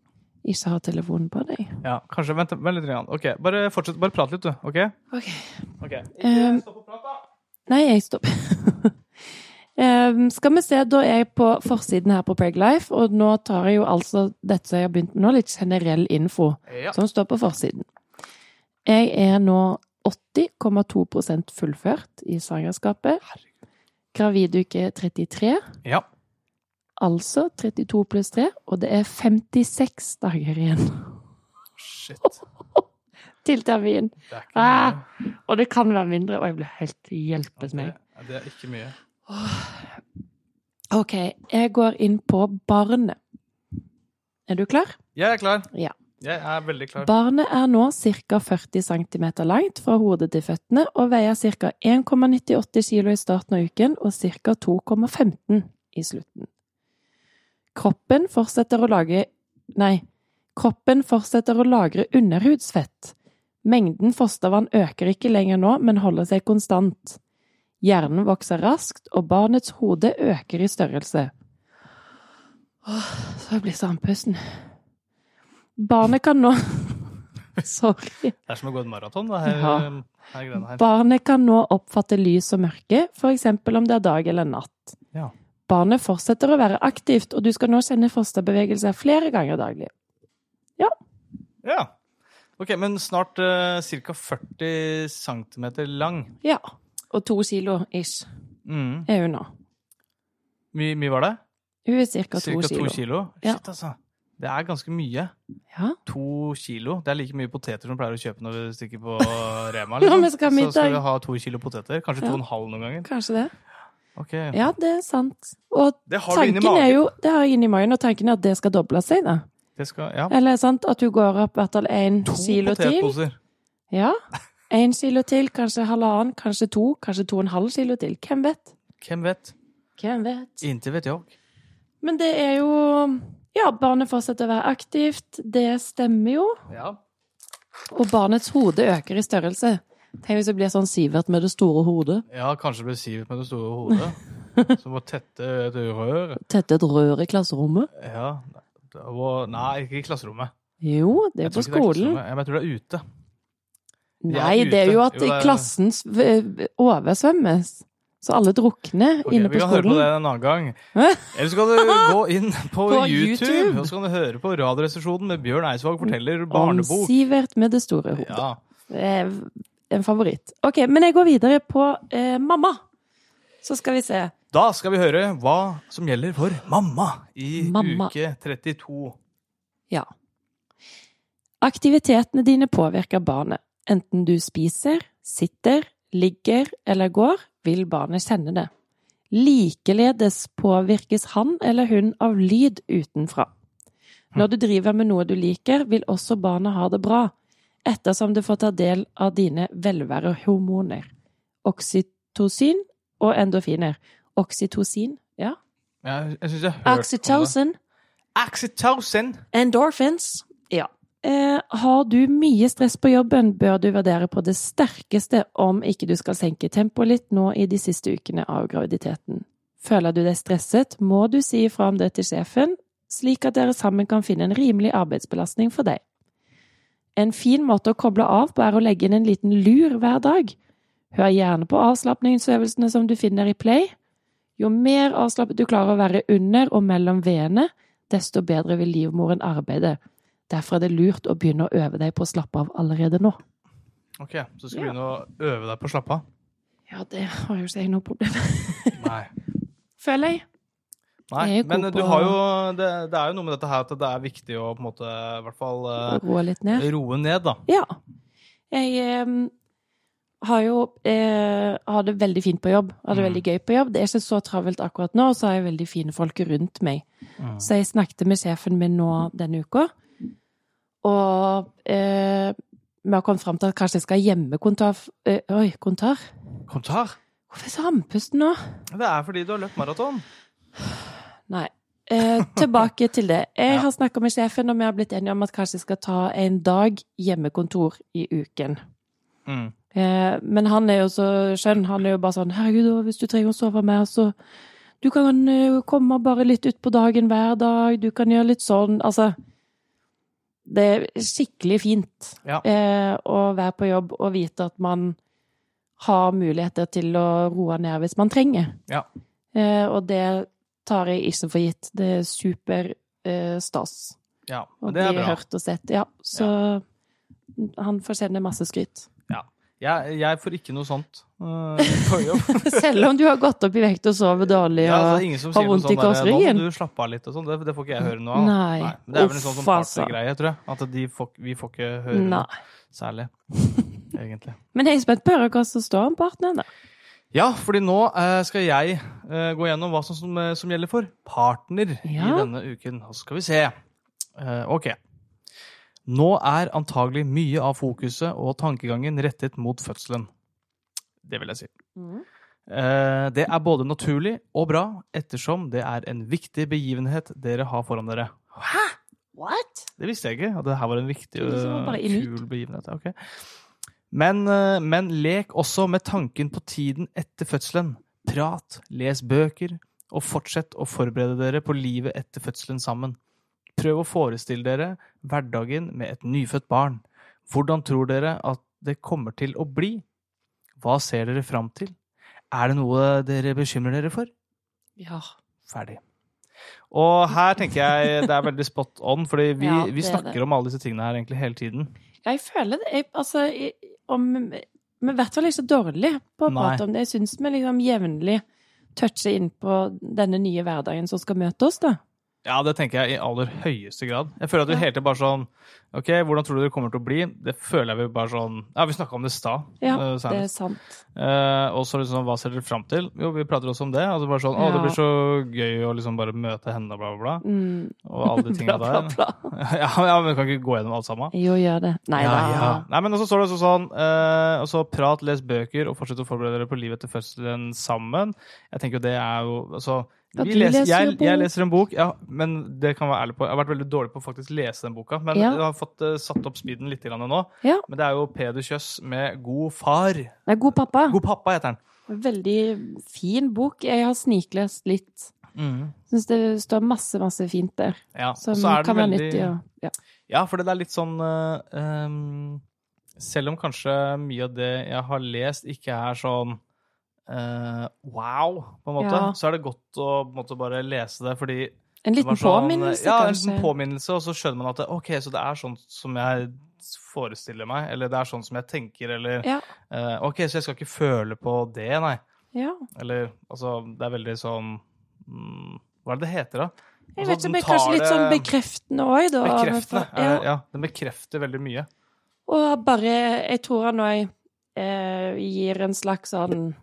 Speaker 2: ikke ha telefonen på deg.
Speaker 1: Ja, kanskje, vent, vent litt. Grann. Ok, bare fortsett, bare prat litt, du. Ok?
Speaker 2: OK.
Speaker 1: Ok.
Speaker 2: Um,
Speaker 1: stopp å prate, da.
Speaker 2: Nei, jeg stopper. Ehm, skal vi se, da er jeg på forsiden her på Preglife, og nå tar jeg jo altså dette som jeg har begynt med nå, litt generell info
Speaker 1: Ja.
Speaker 2: som står på forsiden. Jeg er nå 80,2 fullført i svangerskapet. Graviduke 33,
Speaker 1: ja.
Speaker 2: altså 32 pluss 3, og det er 56 dager igjen
Speaker 1: Shit.
Speaker 2: til termin.
Speaker 1: Det er ikke
Speaker 2: Ah,
Speaker 1: mye.
Speaker 2: Og det kan være mindre, og jeg blir helt
Speaker 1: Ja,
Speaker 2: hjelpes meg.
Speaker 1: det- ja, Det er ikke mye.
Speaker 2: Ok, jeg går inn på barnet. Er du klar?
Speaker 1: Jeg er klar.
Speaker 2: Ja.
Speaker 1: Jeg er veldig klar.
Speaker 2: Barnet er nå ca. 40 cm langt fra hodet til føttene og veier ca. 1,98 kg i starten av uken og ca. 2,15 i slutten. Kroppen fortsetter å lage Nei. Kroppen fortsetter å lagre underhudsfett. Mengden fostervann øker ikke lenger nå, men holder seg konstant. Hjernen vokser raskt, og barnets hode øker i størrelse. Åh, så jeg blir så andpusten. Barnet kan nå Sorry.
Speaker 1: Det er som å gå et maraton, det her, ehm,
Speaker 2: Ja.
Speaker 1: her greiene her.
Speaker 2: Barnet kan nå oppfatte lys og mørke, f.eks. om det er dag eller natt.
Speaker 1: Ja.
Speaker 2: Barnet fortsetter å være aktivt, og du skal nå kjenne fosterbevegelser flere ganger daglig.
Speaker 1: Ja. Ok, men snart eh, ca. 40 cm lang.
Speaker 2: Ja. Og to kilo ish
Speaker 1: Mm.
Speaker 2: er hun nå.
Speaker 1: Mye, mye var det?
Speaker 2: Hun er ca. to
Speaker 1: Cirka
Speaker 2: kilo.
Speaker 1: to kilo.
Speaker 2: Ja.
Speaker 1: Shit, altså. Det er ganske mye.
Speaker 2: Ja.
Speaker 1: To kilo. Det er like mye poteter som du pleier å kjøpe når du stikker på Rema.
Speaker 2: Ja,
Speaker 1: liksom.
Speaker 2: men skal ha
Speaker 1: så skal
Speaker 2: middag.
Speaker 1: du ha to kilo poteter. Kanskje
Speaker 2: Ja.
Speaker 1: to og en halv noen ganger.
Speaker 2: Kanskje det.
Speaker 1: Ok.
Speaker 2: Ja, det er sant. Og
Speaker 1: Det har du inni
Speaker 2: tanken er
Speaker 1: magen.
Speaker 2: jo Det har jeg inni magen, og tanken er at det skal doble seg, da.
Speaker 1: Det skal, ja.
Speaker 2: Eller sant, at hun går opp i hvert fall én
Speaker 1: To
Speaker 2: kilo til.
Speaker 1: potetposer.
Speaker 2: Ja. Én kilo til, kanskje halvannen, kanskje to, kanskje to og en halv kilo til. Hvem vet?
Speaker 1: Hvem vet?
Speaker 2: Hvem vet?
Speaker 1: Inntil vet jeg.
Speaker 2: Men det er jo Ja, barnet fortsetter å være aktivt. Det stemmer jo.
Speaker 1: Ja.
Speaker 2: Og barnets hode øker i størrelse. Tenk hvis det blir sånn Sivert med det store hodet.
Speaker 1: ja, kanskje det ble Sivert med det store hodet. Som å tette et rør.
Speaker 2: Tette et rør i klasserommet.
Speaker 1: Ja. Det var, nei, ikke i klasserommet.
Speaker 2: Jo, det
Speaker 1: Jeg
Speaker 2: er
Speaker 1: tror ikke det er
Speaker 2: på
Speaker 1: i
Speaker 2: skolen.
Speaker 1: klasserommet. Ja, men jeg tror det er ute. Vi er
Speaker 2: Nei, det er
Speaker 1: ute.
Speaker 2: jo at
Speaker 1: Jo, det er-
Speaker 2: klassen s- v- oversvømmes. Så alle drukner
Speaker 1: Ok,
Speaker 2: inne
Speaker 1: vi
Speaker 2: på
Speaker 1: kan høre på det
Speaker 2: skolen.
Speaker 1: en annen gang. Eller så kan du gå inn på,
Speaker 2: På
Speaker 1: YouTube,
Speaker 2: YouTube.
Speaker 1: og så kan du høre på Radioresepsjonen med Bjørn Eidsvåg forteller
Speaker 2: Om
Speaker 1: barnebok.
Speaker 2: Sivert med det store hodet.
Speaker 1: Ja.
Speaker 2: Det er en favoritt. Ok, men jeg går videre på eh, mamma. Så skal vi se.
Speaker 1: Da skal vi høre hva som gjelder for mamma i
Speaker 2: Mamma.
Speaker 1: uke 32.
Speaker 2: Ja. Aktivitetene dine påvirker barnet. Enten du spiser, sitter, ligger eller går, vil barnet kjenne det. Likeledes påvirkes han eller hun av lyd utenfra. Når du driver med noe du liker, vil også barnet ha det bra, ettersom det får ta del av dine velværehormoner. Oksytocin og endorfiner. Oksytocin, ja.
Speaker 1: Jeg, jeg synes jeg har hørt om det.
Speaker 2: Oxytocin.
Speaker 1: Oxytocin.
Speaker 2: Endorphins. Ja. Eh, har du mye stress på jobben, bør du vurdere på det sterkeste om ikke du skal senke tempoet litt nå i de siste ukene av graviditeten. Føler du deg stresset, må du si ifra om det til sjefen, slik at dere sammen kan finne en rimelig arbeidsbelastning for deg. En fin måte å koble av på er å legge inn en liten lur hver dag. Hør gjerne på avslapningsøvelsene som du finner i Play. Jo mer avslappet du klarer å være under og mellom veene, desto bedre vil livmoren arbeide. Derfor er det lurt å begynne å øve deg på å slappe av allerede nå.
Speaker 1: Ok, så skal vi
Speaker 2: Ja.
Speaker 1: begynne å øve deg på å slappe av.
Speaker 2: Ja, det har jo ikke jeg noe problem med.
Speaker 1: Nei.
Speaker 2: Føler jeg.
Speaker 1: Nei.
Speaker 2: Jeg er god
Speaker 1: Men du
Speaker 2: på-
Speaker 1: har jo det, det er jo noe med dette her at det er viktig å på en måte i hvert fall eh,
Speaker 2: Roe litt ned.
Speaker 1: roe ned, da.
Speaker 2: Ja. Jeg em, har jo eh, har det veldig fint på jobb. Har det
Speaker 1: Mm.
Speaker 2: veldig gøy på jobb. Det er ikke så travelt akkurat nå, og så har jeg veldig fine folk rundt meg.
Speaker 1: Mm.
Speaker 2: Så jeg snakket med sjefen min nå denne uka, og eh, vi har kommet fram til at kanskje jeg skal ha hjemmekontor eh, Oi, kontor?
Speaker 1: Kontar.
Speaker 2: Hvorfor er jeg så andpusten nå?
Speaker 1: Det er fordi du har løpt maraton.
Speaker 2: Nei. Eh, tilbake til det. Jeg
Speaker 1: Ja.
Speaker 2: har snakka med sjefen, og vi har blitt enige om at kanskje jeg skal ta en dag hjemmekontor i uken.
Speaker 1: Mm.
Speaker 2: Eh, men han er jo så skjønn. Han er jo bare sånn 'Herregud, og hvis du trenger å sove mer, så Du kan eh, komme bare litt utpå dagen hver dag. Du kan gjøre litt sånn Altså Det er skikkelig fint
Speaker 1: Ja.
Speaker 2: eh, å være på jobb og vite at man har muligheter til å roe ned hvis man trenger.
Speaker 1: Ja.
Speaker 2: Eh, og det tar jeg ikke for gitt. Det er super eh, stas
Speaker 1: Ja,
Speaker 2: å
Speaker 1: men det
Speaker 2: bli
Speaker 1: er bra.
Speaker 2: hørt og sett. Ja, så han fortjener masse skryt.
Speaker 1: Jeg, jeg får ikke noe sånt eh, på jobb.
Speaker 2: Selv om du har gått opp i vekt og sover dårlig.
Speaker 1: Ja, altså, det
Speaker 2: Og...
Speaker 1: er ingen som
Speaker 2: har
Speaker 1: sier noe
Speaker 2: vondt i
Speaker 1: sånn der,
Speaker 2: korsryggen.
Speaker 1: Nå må du slappe av litt og sånn. Det, det får ikke jeg høre noe av.
Speaker 2: Nei.
Speaker 1: Men Det er vel en
Speaker 2: Uff,
Speaker 1: sånn, sånn
Speaker 2: altså.
Speaker 1: partygreie, tror jeg. At de får, vi får ikke høre
Speaker 2: Nei.
Speaker 1: noe særlig. Egentlig.
Speaker 2: Men jeg er spent på å høre hva som står om partneren. da.
Speaker 1: Ja, fordi nå eh, skal jeg eh, gå gjennom hva som, som, eh, som gjelder for partner i
Speaker 2: Ja.
Speaker 1: denne uken. Og så skal vi se. Eh, ok. Nå er antagelig mye av fokuset og tankegangen rettet mot fødselen. Det vil jeg si. Eh, Det er både naturlig og bra, ettersom det er en viktig begivenhet dere har foran dere.
Speaker 2: What?
Speaker 1: Det visste jeg ikke, at det her var en viktig
Speaker 2: Trodde det var
Speaker 1: og
Speaker 2: bare inuit.
Speaker 1: kul begivenhet. ja, ok. Men, eh, men lek også med tanken på tiden etter fødselen. Prat, les bøker, og fortsett å forberede dere på livet etter fødselen sammen. Prøv å forestille dere hverdagen med et nyfødt barn. Hvordan tror dere at det kommer til å bli? Hva ser dere fram til? Er det noe dere bekymrer dere for?
Speaker 2: Ja.
Speaker 1: Ferdig. Og her tenker jeg det er veldig spot on, fordi vi,
Speaker 2: Ja,
Speaker 1: vi
Speaker 2: det er
Speaker 1: snakker
Speaker 2: det.
Speaker 1: om alle disse tingene her egentlig hele tiden.
Speaker 2: Jeg føler det jeg, Altså, jeg, om Vi er i hvert fall ikke så dårlig på å
Speaker 1: Nei.
Speaker 2: prate om det. Jeg syns vi liksom jevnlig toucher inn på denne nye hverdagen som skal møte oss, da.
Speaker 1: Ja, det tenker jeg i aller høyeste grad. Jeg føler at vi
Speaker 2: Ja.
Speaker 1: hele tiden bare sånn OK, hvordan tror du det kommer til å bli? Det føler jeg vi bare sånn Ja, vi snakka om det i stad.
Speaker 2: Ja,
Speaker 1: eh,
Speaker 2: det er
Speaker 1: senest.
Speaker 2: sant.
Speaker 1: Eh, og så liksom, hva ser dere fram til? Jo, vi prater også om det. Altså bare sånn Å, det
Speaker 2: Ja.
Speaker 1: blir så gøy å liksom bare møte henne, bla, bla, bla.
Speaker 2: Mm.
Speaker 1: Og alle de tinga
Speaker 2: Bla, bla,
Speaker 1: der.
Speaker 2: bla.
Speaker 1: ja, ja, men vi kan ikke gå gjennom alt sammen.
Speaker 2: Jo, gjør det. Nei da.
Speaker 1: Ja, ja. Nei, men også står det også sånn eh, og så Prat, les bøker, og fortsett å forberede dere på livet etter fødselen sammen. Jeg tenker jo det er jo altså,
Speaker 2: Ja,
Speaker 1: vi
Speaker 2: du
Speaker 1: leser,
Speaker 2: leser
Speaker 1: jeg,
Speaker 2: jo bok.
Speaker 1: jeg leser en bok, ja, men det kan jeg være ærlig på. Jeg har vært veldig dårlig på å faktisk lese den boka, men
Speaker 2: Ja.
Speaker 1: jeg har fått eh, satt opp speeden litt grann nå.
Speaker 2: Ja.
Speaker 1: Men det er jo Peder Kjøs med 'God far'.
Speaker 2: Nei, god pappa.
Speaker 1: God pappa heter den.
Speaker 2: Veldig fin bok. Jeg har sniklest litt. Syns det står masse, masse fint der.
Speaker 1: Mm. Ja, og
Speaker 2: Som
Speaker 1: så er den
Speaker 2: kan være
Speaker 1: veldig-
Speaker 2: nyttig å ja.
Speaker 1: Ja, for det er litt sånn eh, ehm, Selv om kanskje mye av det jeg har lest, ikke er sånn eh, wow, på en måte,
Speaker 2: Ja.
Speaker 1: så er det godt å på en måte, bare lese det, fordi
Speaker 2: En
Speaker 1: det var
Speaker 2: liten
Speaker 1: sånn-
Speaker 2: påminnelse,
Speaker 1: Ja, en
Speaker 2: kanskje.
Speaker 1: liten påminnelse, og så skjønner man at det, OK, så det er sånn som jeg forestiller meg, eller det er sånn som jeg tenker, eller
Speaker 2: Ja.
Speaker 1: eh, OK, så jeg skal ikke føle på det, nei.
Speaker 2: ja.
Speaker 1: Eller altså, det er veldig sånn mm, Hva er det det heter, da?
Speaker 2: Jeg
Speaker 1: Altså,
Speaker 2: vet ikke,
Speaker 1: den
Speaker 2: men
Speaker 1: tar
Speaker 2: kanskje litt sånn
Speaker 1: det-
Speaker 2: bekreftende òg, da.
Speaker 1: Bekreftende.
Speaker 2: Ja.
Speaker 1: er det- Ja, den bekrefter veldig mye.
Speaker 2: Og bare Jeg tror han òg eh, gir en slags sånn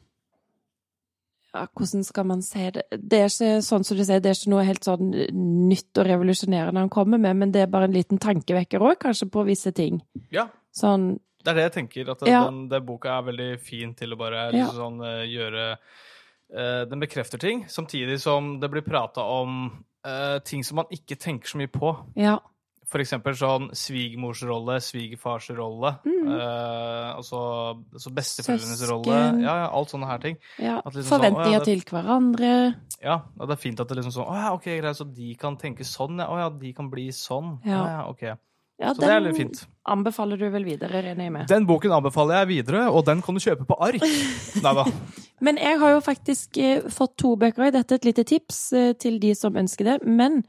Speaker 2: ja, Hvordan skal man si det Det er ikke sånn som du sier, det er ikke noe helt sånn nytt og revolusjonerende han kommer med, men det er bare en liten tankevekker òg, kanskje, på visse ting.
Speaker 1: Ja,
Speaker 2: Sånn
Speaker 1: Det er det jeg tenker, at
Speaker 2: Ja.
Speaker 1: den, den boka er veldig fin til å bare
Speaker 2: Ja.
Speaker 1: sånn, eh, gjøre eh, Den bekrefter ting, samtidig som det blir prata om eh, ting som man ikke tenker så mye på.
Speaker 2: Ja.
Speaker 1: For eksempel sånn svigermors rolle, svigerfars rolle,
Speaker 2: Mhm.
Speaker 1: eh, og så altså besteforeldrenes rolle.
Speaker 2: Søsken.
Speaker 1: Ja, ja, alt sånne her ting.
Speaker 2: ja.
Speaker 1: At liksom sånn, å, ja,
Speaker 2: Forventninger
Speaker 1: det-
Speaker 2: til hverandre.
Speaker 1: Ja, og det er fint at det liksom sånn Å ja, OK, greit, så de kan tenke sånn, ja. Å ja, de kan bli sånn.
Speaker 2: Ja.
Speaker 1: Ja, ja, OK.
Speaker 2: Ja,
Speaker 1: Så det er litt fint.
Speaker 2: anbefaler du vel videre, regner jeg med.
Speaker 1: Den boken anbefaler jeg videre, og den kan du kjøpe på ark. Nei da.
Speaker 2: Men jeg har jo faktisk eh, fått to bøker i dette, er et lite tips eh, til de som ønsker det. Men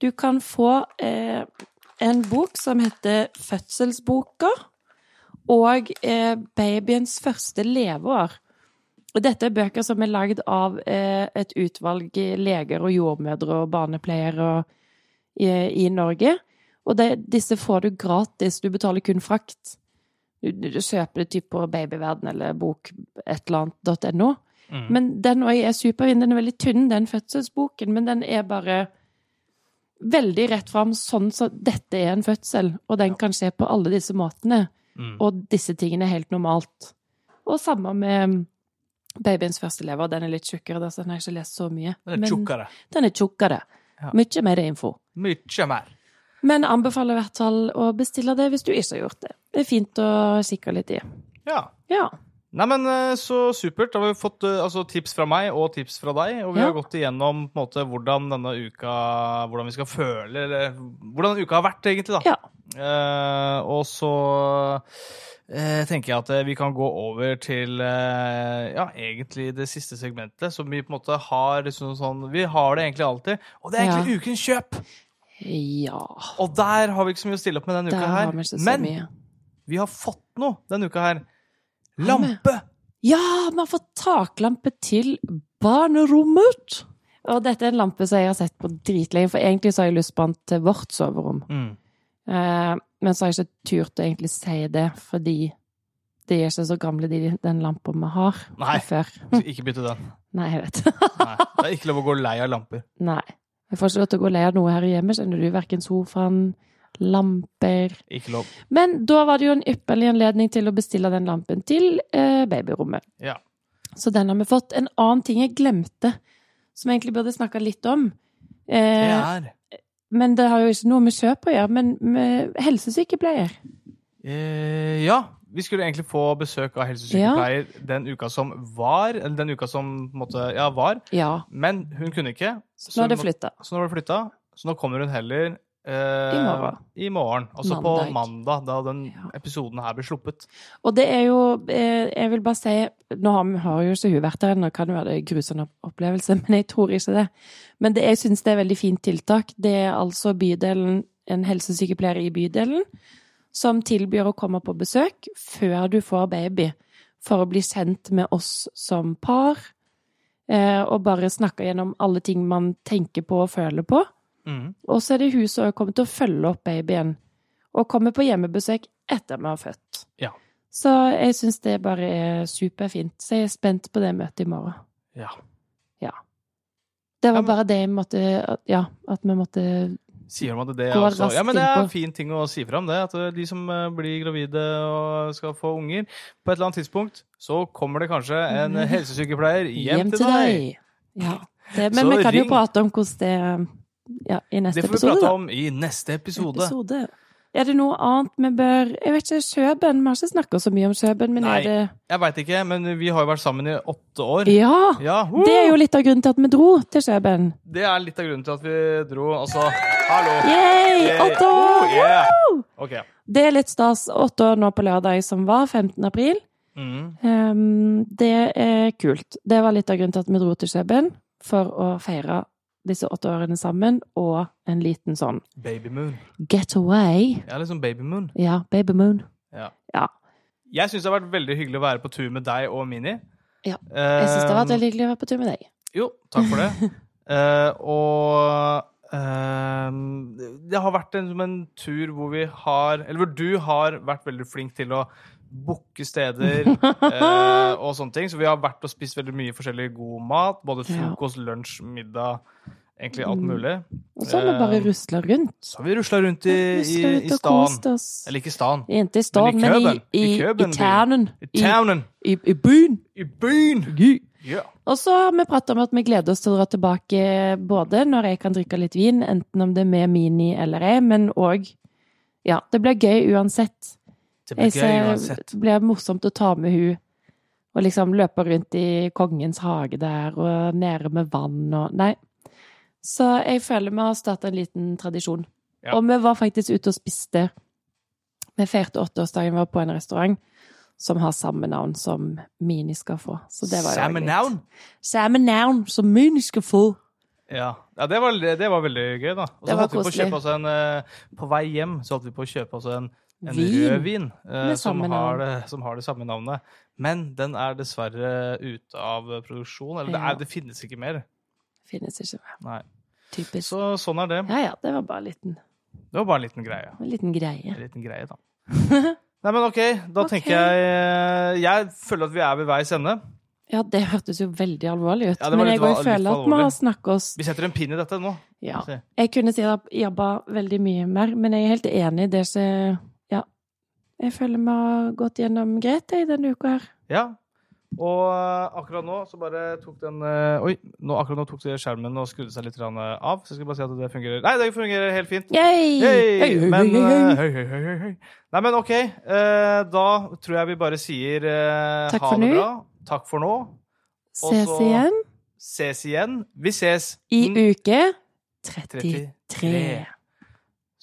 Speaker 2: du kan få eh, en bok som heter Fødselsboka, og eh, Babyens første leveår. Og Dette er bøker som er lagd av eh, et utvalg leger og jordmødre og barnepleiere og, i, i Norge. Og det, disse får du gratis, du betaler kun frakt. Du, du, du kjøper det typ på Babyverden eller bok et eller annet .no.
Speaker 1: Mm.
Speaker 2: Men den også er superfin. Den er veldig tynn, den fødselsboken, men den er bare veldig rett fram sånn som dette er en fødsel, og den kan skje på alle disse måtene.
Speaker 1: Mm.
Speaker 2: Og disse tingene er helt normalt. Og samme med babyens første lever. Den er litt tjukkere, da, så den har jeg ikke lest så mye.
Speaker 1: Den er tjukkere.
Speaker 2: den er tjukkere.
Speaker 1: Ja.
Speaker 2: Mye mer info.
Speaker 1: Mye mer.
Speaker 2: Men anbefaler i hvert fall å bestille det hvis du ikke har gjort det. Det er fint å kikke litt i.
Speaker 1: Ja.
Speaker 2: Ja.
Speaker 1: Nei, men eh, Så supert. Da har vi fått eh, altså, tips fra meg og tips fra deg. Og vi
Speaker 2: Ja.
Speaker 1: har gått igjennom på en måte, hvordan denne uka Hvordan vi skal føle eller Hvordan uka har vært, egentlig. da.
Speaker 2: Ja.
Speaker 1: Eh, og så eh, tenker jeg at eh, vi kan gå over til eh, ja, egentlig det siste segmentet, som vi på en måte har liksom sånn Vi har det egentlig alltid. Og det er egentlig ukens kjøp!
Speaker 2: Ja.
Speaker 1: Og der har vi ikke så mye å stille opp med denne
Speaker 2: Der
Speaker 1: uka
Speaker 2: har
Speaker 1: her.
Speaker 2: vi ikke så
Speaker 1: Men
Speaker 2: mye.
Speaker 1: vi har fått noe denne uka her.
Speaker 2: Har vi?
Speaker 1: Lampe!
Speaker 2: Ja, man får taklampe til barnerommet. Og dette er en lampe som jeg har sett på dritlenge, for egentlig så har jeg lyst på den til vårt soverom.
Speaker 1: Mm.
Speaker 2: Eh, men så har jeg ikke turt å egentlig si det, fordi de er ikke så gamle, de, den lampa vi har fra
Speaker 1: Nei.
Speaker 2: før.
Speaker 1: Ikke bytte den.
Speaker 2: Nei, jeg vet.
Speaker 1: Nei, det er ikke lov å gå lei av lamper.
Speaker 2: Nei. Jeg får ikke lov til å gå lei av noe her hjemme, skjønner du. Verken sofaen, lamper
Speaker 1: Ikke lov.
Speaker 2: Men da var det jo en ypperlig anledning til å bestille den lampen til eh, babyrommet.
Speaker 1: Ja.
Speaker 2: Så den har vi fått. En annen ting jeg glemte, som jeg egentlig burde snakka litt om.
Speaker 1: Det
Speaker 2: Eh,
Speaker 1: er
Speaker 2: Men det har jo ikke noe med kjøp å gjøre, men med helsesykepleier.
Speaker 1: eh, Ja, vi skulle egentlig få besøk av helsesykepleier den uka som var. Eller den uka som på en måte, ja, var.
Speaker 2: Ja.
Speaker 1: Men hun kunne ikke.
Speaker 2: Så nå er det
Speaker 1: hun må-
Speaker 2: flytta.
Speaker 1: Så nå var det flytta. Så nå kommer hun heller eh,
Speaker 2: I morgen.
Speaker 1: I morgen. Altså på mandag, da den
Speaker 2: Ja.
Speaker 1: episoden her blir sluppet.
Speaker 2: Og det er jo eh, Jeg vil bare si Nå har, har jo ikke hun vært der ennå, kan jo være det en grusom opp- opplevelse, men jeg tror ikke det. Men det, jeg syns det er veldig fint tiltak. Det er altså bydelen, en helsesykepleier i bydelen som tilbyr å komme på besøk før du får baby, for å bli kjent med oss som par. Eh, og bare snakke gjennom alle ting man tenker på og føler på.
Speaker 1: Mhm.
Speaker 2: Og så er det hun som kommer til å følge opp babyen, og kommer på hjemmebesøk etter vi har født.
Speaker 1: Ja.
Speaker 2: Så jeg syns det bare er superfint. Så jeg er spent på det møtet i morgen.
Speaker 1: Ja.
Speaker 2: Det var
Speaker 1: Ja, men-
Speaker 2: bare det jeg måtte at- Ja, at vi måtte
Speaker 1: Sier de at det er
Speaker 2: Går
Speaker 1: også
Speaker 2: raskt
Speaker 1: Ja, men det er en
Speaker 2: innpå.
Speaker 1: fin ting å si fram, det. At eh, de som eh, blir gravide og skal få unger, på et eller annet tidspunkt så kommer det kanskje en
Speaker 2: Mhm.
Speaker 1: helsesykepleier hjem, til deg.
Speaker 2: Ja. Det, men
Speaker 1: Så
Speaker 2: vi kan jo
Speaker 1: ring.
Speaker 2: prate om hvordan det ja, i neste
Speaker 1: Det får vi
Speaker 2: episode,
Speaker 1: prate
Speaker 2: da.
Speaker 1: om i neste episode.
Speaker 2: Episode. Er det noe annet vi bør Jeg vet ikke, Kjøben? Vi har ikke snakka så mye om Kjøben, men
Speaker 1: Nei.
Speaker 2: er det
Speaker 1: Jeg veit ikke, men vi har jo vært sammen i åtte år.
Speaker 2: Ja!
Speaker 1: Ja, woo!
Speaker 2: Det er jo litt av grunnen til at vi dro til Kjøben.
Speaker 1: det er litt av grunnen til at vi dro. Altså, hallo!
Speaker 2: Yay!
Speaker 1: Yeah.
Speaker 2: Åtte
Speaker 1: Oh,
Speaker 2: år!
Speaker 1: yeah.
Speaker 2: Woo!
Speaker 1: OK.
Speaker 2: Det er litt stas. Åtte år nå på lørdag, som var 15. april.
Speaker 1: Mhm.
Speaker 2: Ehm, det er kult. Det var litt av grunnen til at vi dro til Kjøben, for å feire disse åtte årene sammen, og en liten sånn
Speaker 1: Babymoon.
Speaker 2: getaway.
Speaker 1: Jeg er liksom Babymoon.
Speaker 2: Ja, Baby Moon.
Speaker 1: Jeg syns det har vært veldig hyggelig å være på tur med deg og Mini. Ehm,
Speaker 2: Ja, Jeg syns det har vært veldig hyggelig å være på tur med deg.
Speaker 1: Jo, takk for det. Eh, og ehm, det har vært en, som en tur hvor vi har Eller hvor du har vært veldig flink til å booke steder eh, og sånne ting. Så vi har vært og spist veldig mye forskjellig god mat. Både
Speaker 2: Ja.
Speaker 1: frokost, lunsj, middag. Egentlig alt
Speaker 2: Mm.
Speaker 1: mulig.
Speaker 2: Og så har vi bare
Speaker 1: Ehm,
Speaker 2: rusla rundt.
Speaker 1: Så har vi rusla rundt i, i,
Speaker 2: Ruslet
Speaker 1: i
Speaker 2: ut og
Speaker 1: stan.
Speaker 2: kost oss.
Speaker 1: Eller ikke stan.
Speaker 2: Ikke i stan, men i,
Speaker 1: Køben.
Speaker 2: i,
Speaker 1: I
Speaker 2: i,
Speaker 1: Køben, byen.
Speaker 2: townen.
Speaker 1: I
Speaker 2: I,
Speaker 1: townen.
Speaker 2: i, i byen.
Speaker 1: I byen! Ja.
Speaker 2: Og så har vi pratet om at vi gleder oss til å dra tilbake både når jeg kan drikke litt vin, enten om det er med Mini eller jeg, men òg Ja, det blir gøy uansett.
Speaker 1: Det blir
Speaker 2: Jeg
Speaker 1: gøy
Speaker 2: ser
Speaker 1: uansett.
Speaker 2: det blir morsomt å ta med hun og liksom løpe rundt i kongens hage der og nede med vann og Nei. Så jeg føler vi har starta en liten tradisjon.
Speaker 1: Ja.
Speaker 2: Og vi var faktisk ute og spiste. Vi feirte åtteårsdagen vår på en restaurant som har samme navn som Mini skal få. Så det var jo
Speaker 1: Samme
Speaker 2: litt-
Speaker 1: navn?
Speaker 2: Samme navn som Mini skal få.
Speaker 1: Ja, ja det, var, det var veldig gøy, da. Og
Speaker 2: Det
Speaker 1: så
Speaker 2: var
Speaker 1: holdt vi på å
Speaker 2: koselig.
Speaker 1: kjøpe oss en eh, På vei hjem så holdt vi på å kjøpe oss en, en
Speaker 2: Vin.
Speaker 1: rød vin eh,
Speaker 2: Med
Speaker 1: som,
Speaker 2: samme
Speaker 1: har det, som har det samme navnet. Men den er dessverre ute av produksjon. Eller det,
Speaker 2: Ja.
Speaker 1: er, det finnes ikke mer.
Speaker 2: Finnes ikke mer.
Speaker 1: Nei.
Speaker 2: Typisk.
Speaker 1: Så sånn er det.
Speaker 2: Ja ja, det var bare en liten,
Speaker 1: Det var bare en liten greie.
Speaker 2: en liten greie.
Speaker 1: En liten greie, da. Nei, men OK. Da
Speaker 2: Ok.
Speaker 1: tenker jeg eh, Jeg føler at vi er ved veis ende.
Speaker 2: Ja, det hørtes jo veldig alvorlig ut.
Speaker 1: Ja, det var
Speaker 2: men
Speaker 1: litt
Speaker 2: jeg går
Speaker 1: val-
Speaker 2: og
Speaker 1: litt
Speaker 2: føler at vi
Speaker 1: alvorlig.
Speaker 2: har snakka oss
Speaker 1: Vi setter en pinn i dette nå.
Speaker 2: Ja.
Speaker 1: Se.
Speaker 2: Jeg kunne si at jeg jobba veldig mye mer, men jeg er helt enig i det som Ja. Jeg føler vi har gått gjennom greit jeg, denne uka her.
Speaker 1: Ja. Og eh, akkurat nå så bare tok den eh, Oi, nå, akkurat nå tok det skjermen og skrudde seg litt grann, eh, av. Så jeg skal bare si at det fungerer. Nei, det fungerer helt fint.
Speaker 2: Yay! Hei,
Speaker 1: Yay!
Speaker 2: hei,
Speaker 1: Men,
Speaker 2: hei, hei.
Speaker 1: eh, høy, høy, høy, høy, høy. Nei, men OK. eh, Da tror jeg vi bare sier eh,
Speaker 2: Takk
Speaker 1: ha
Speaker 2: for
Speaker 1: det
Speaker 2: nå.
Speaker 1: bra. Takk for nå.
Speaker 2: Ses
Speaker 1: også-
Speaker 2: igjen
Speaker 1: Ses igjen. Vi ses Mm.
Speaker 2: i
Speaker 1: den
Speaker 2: uke 33.
Speaker 1: 33.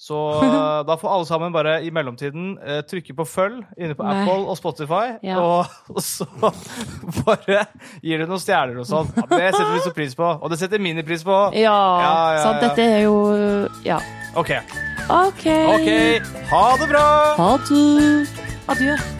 Speaker 1: Så eh, da får alle sammen bare i mellomtiden eh, trykke på følg inne på
Speaker 2: Nei.
Speaker 1: Apple og Spotify,
Speaker 2: Ja.
Speaker 1: og, og så bare gir det noen stjerner og sånn. Ja, Det setter vi så pris på. Og det setter Mini pris på.
Speaker 2: Ja,
Speaker 1: Ja, ja,
Speaker 2: sant?
Speaker 1: ja.
Speaker 2: Dette er jo Ja.
Speaker 1: OK.
Speaker 2: OK.
Speaker 1: OK. Ha det bra!
Speaker 2: Ha det. Adjø.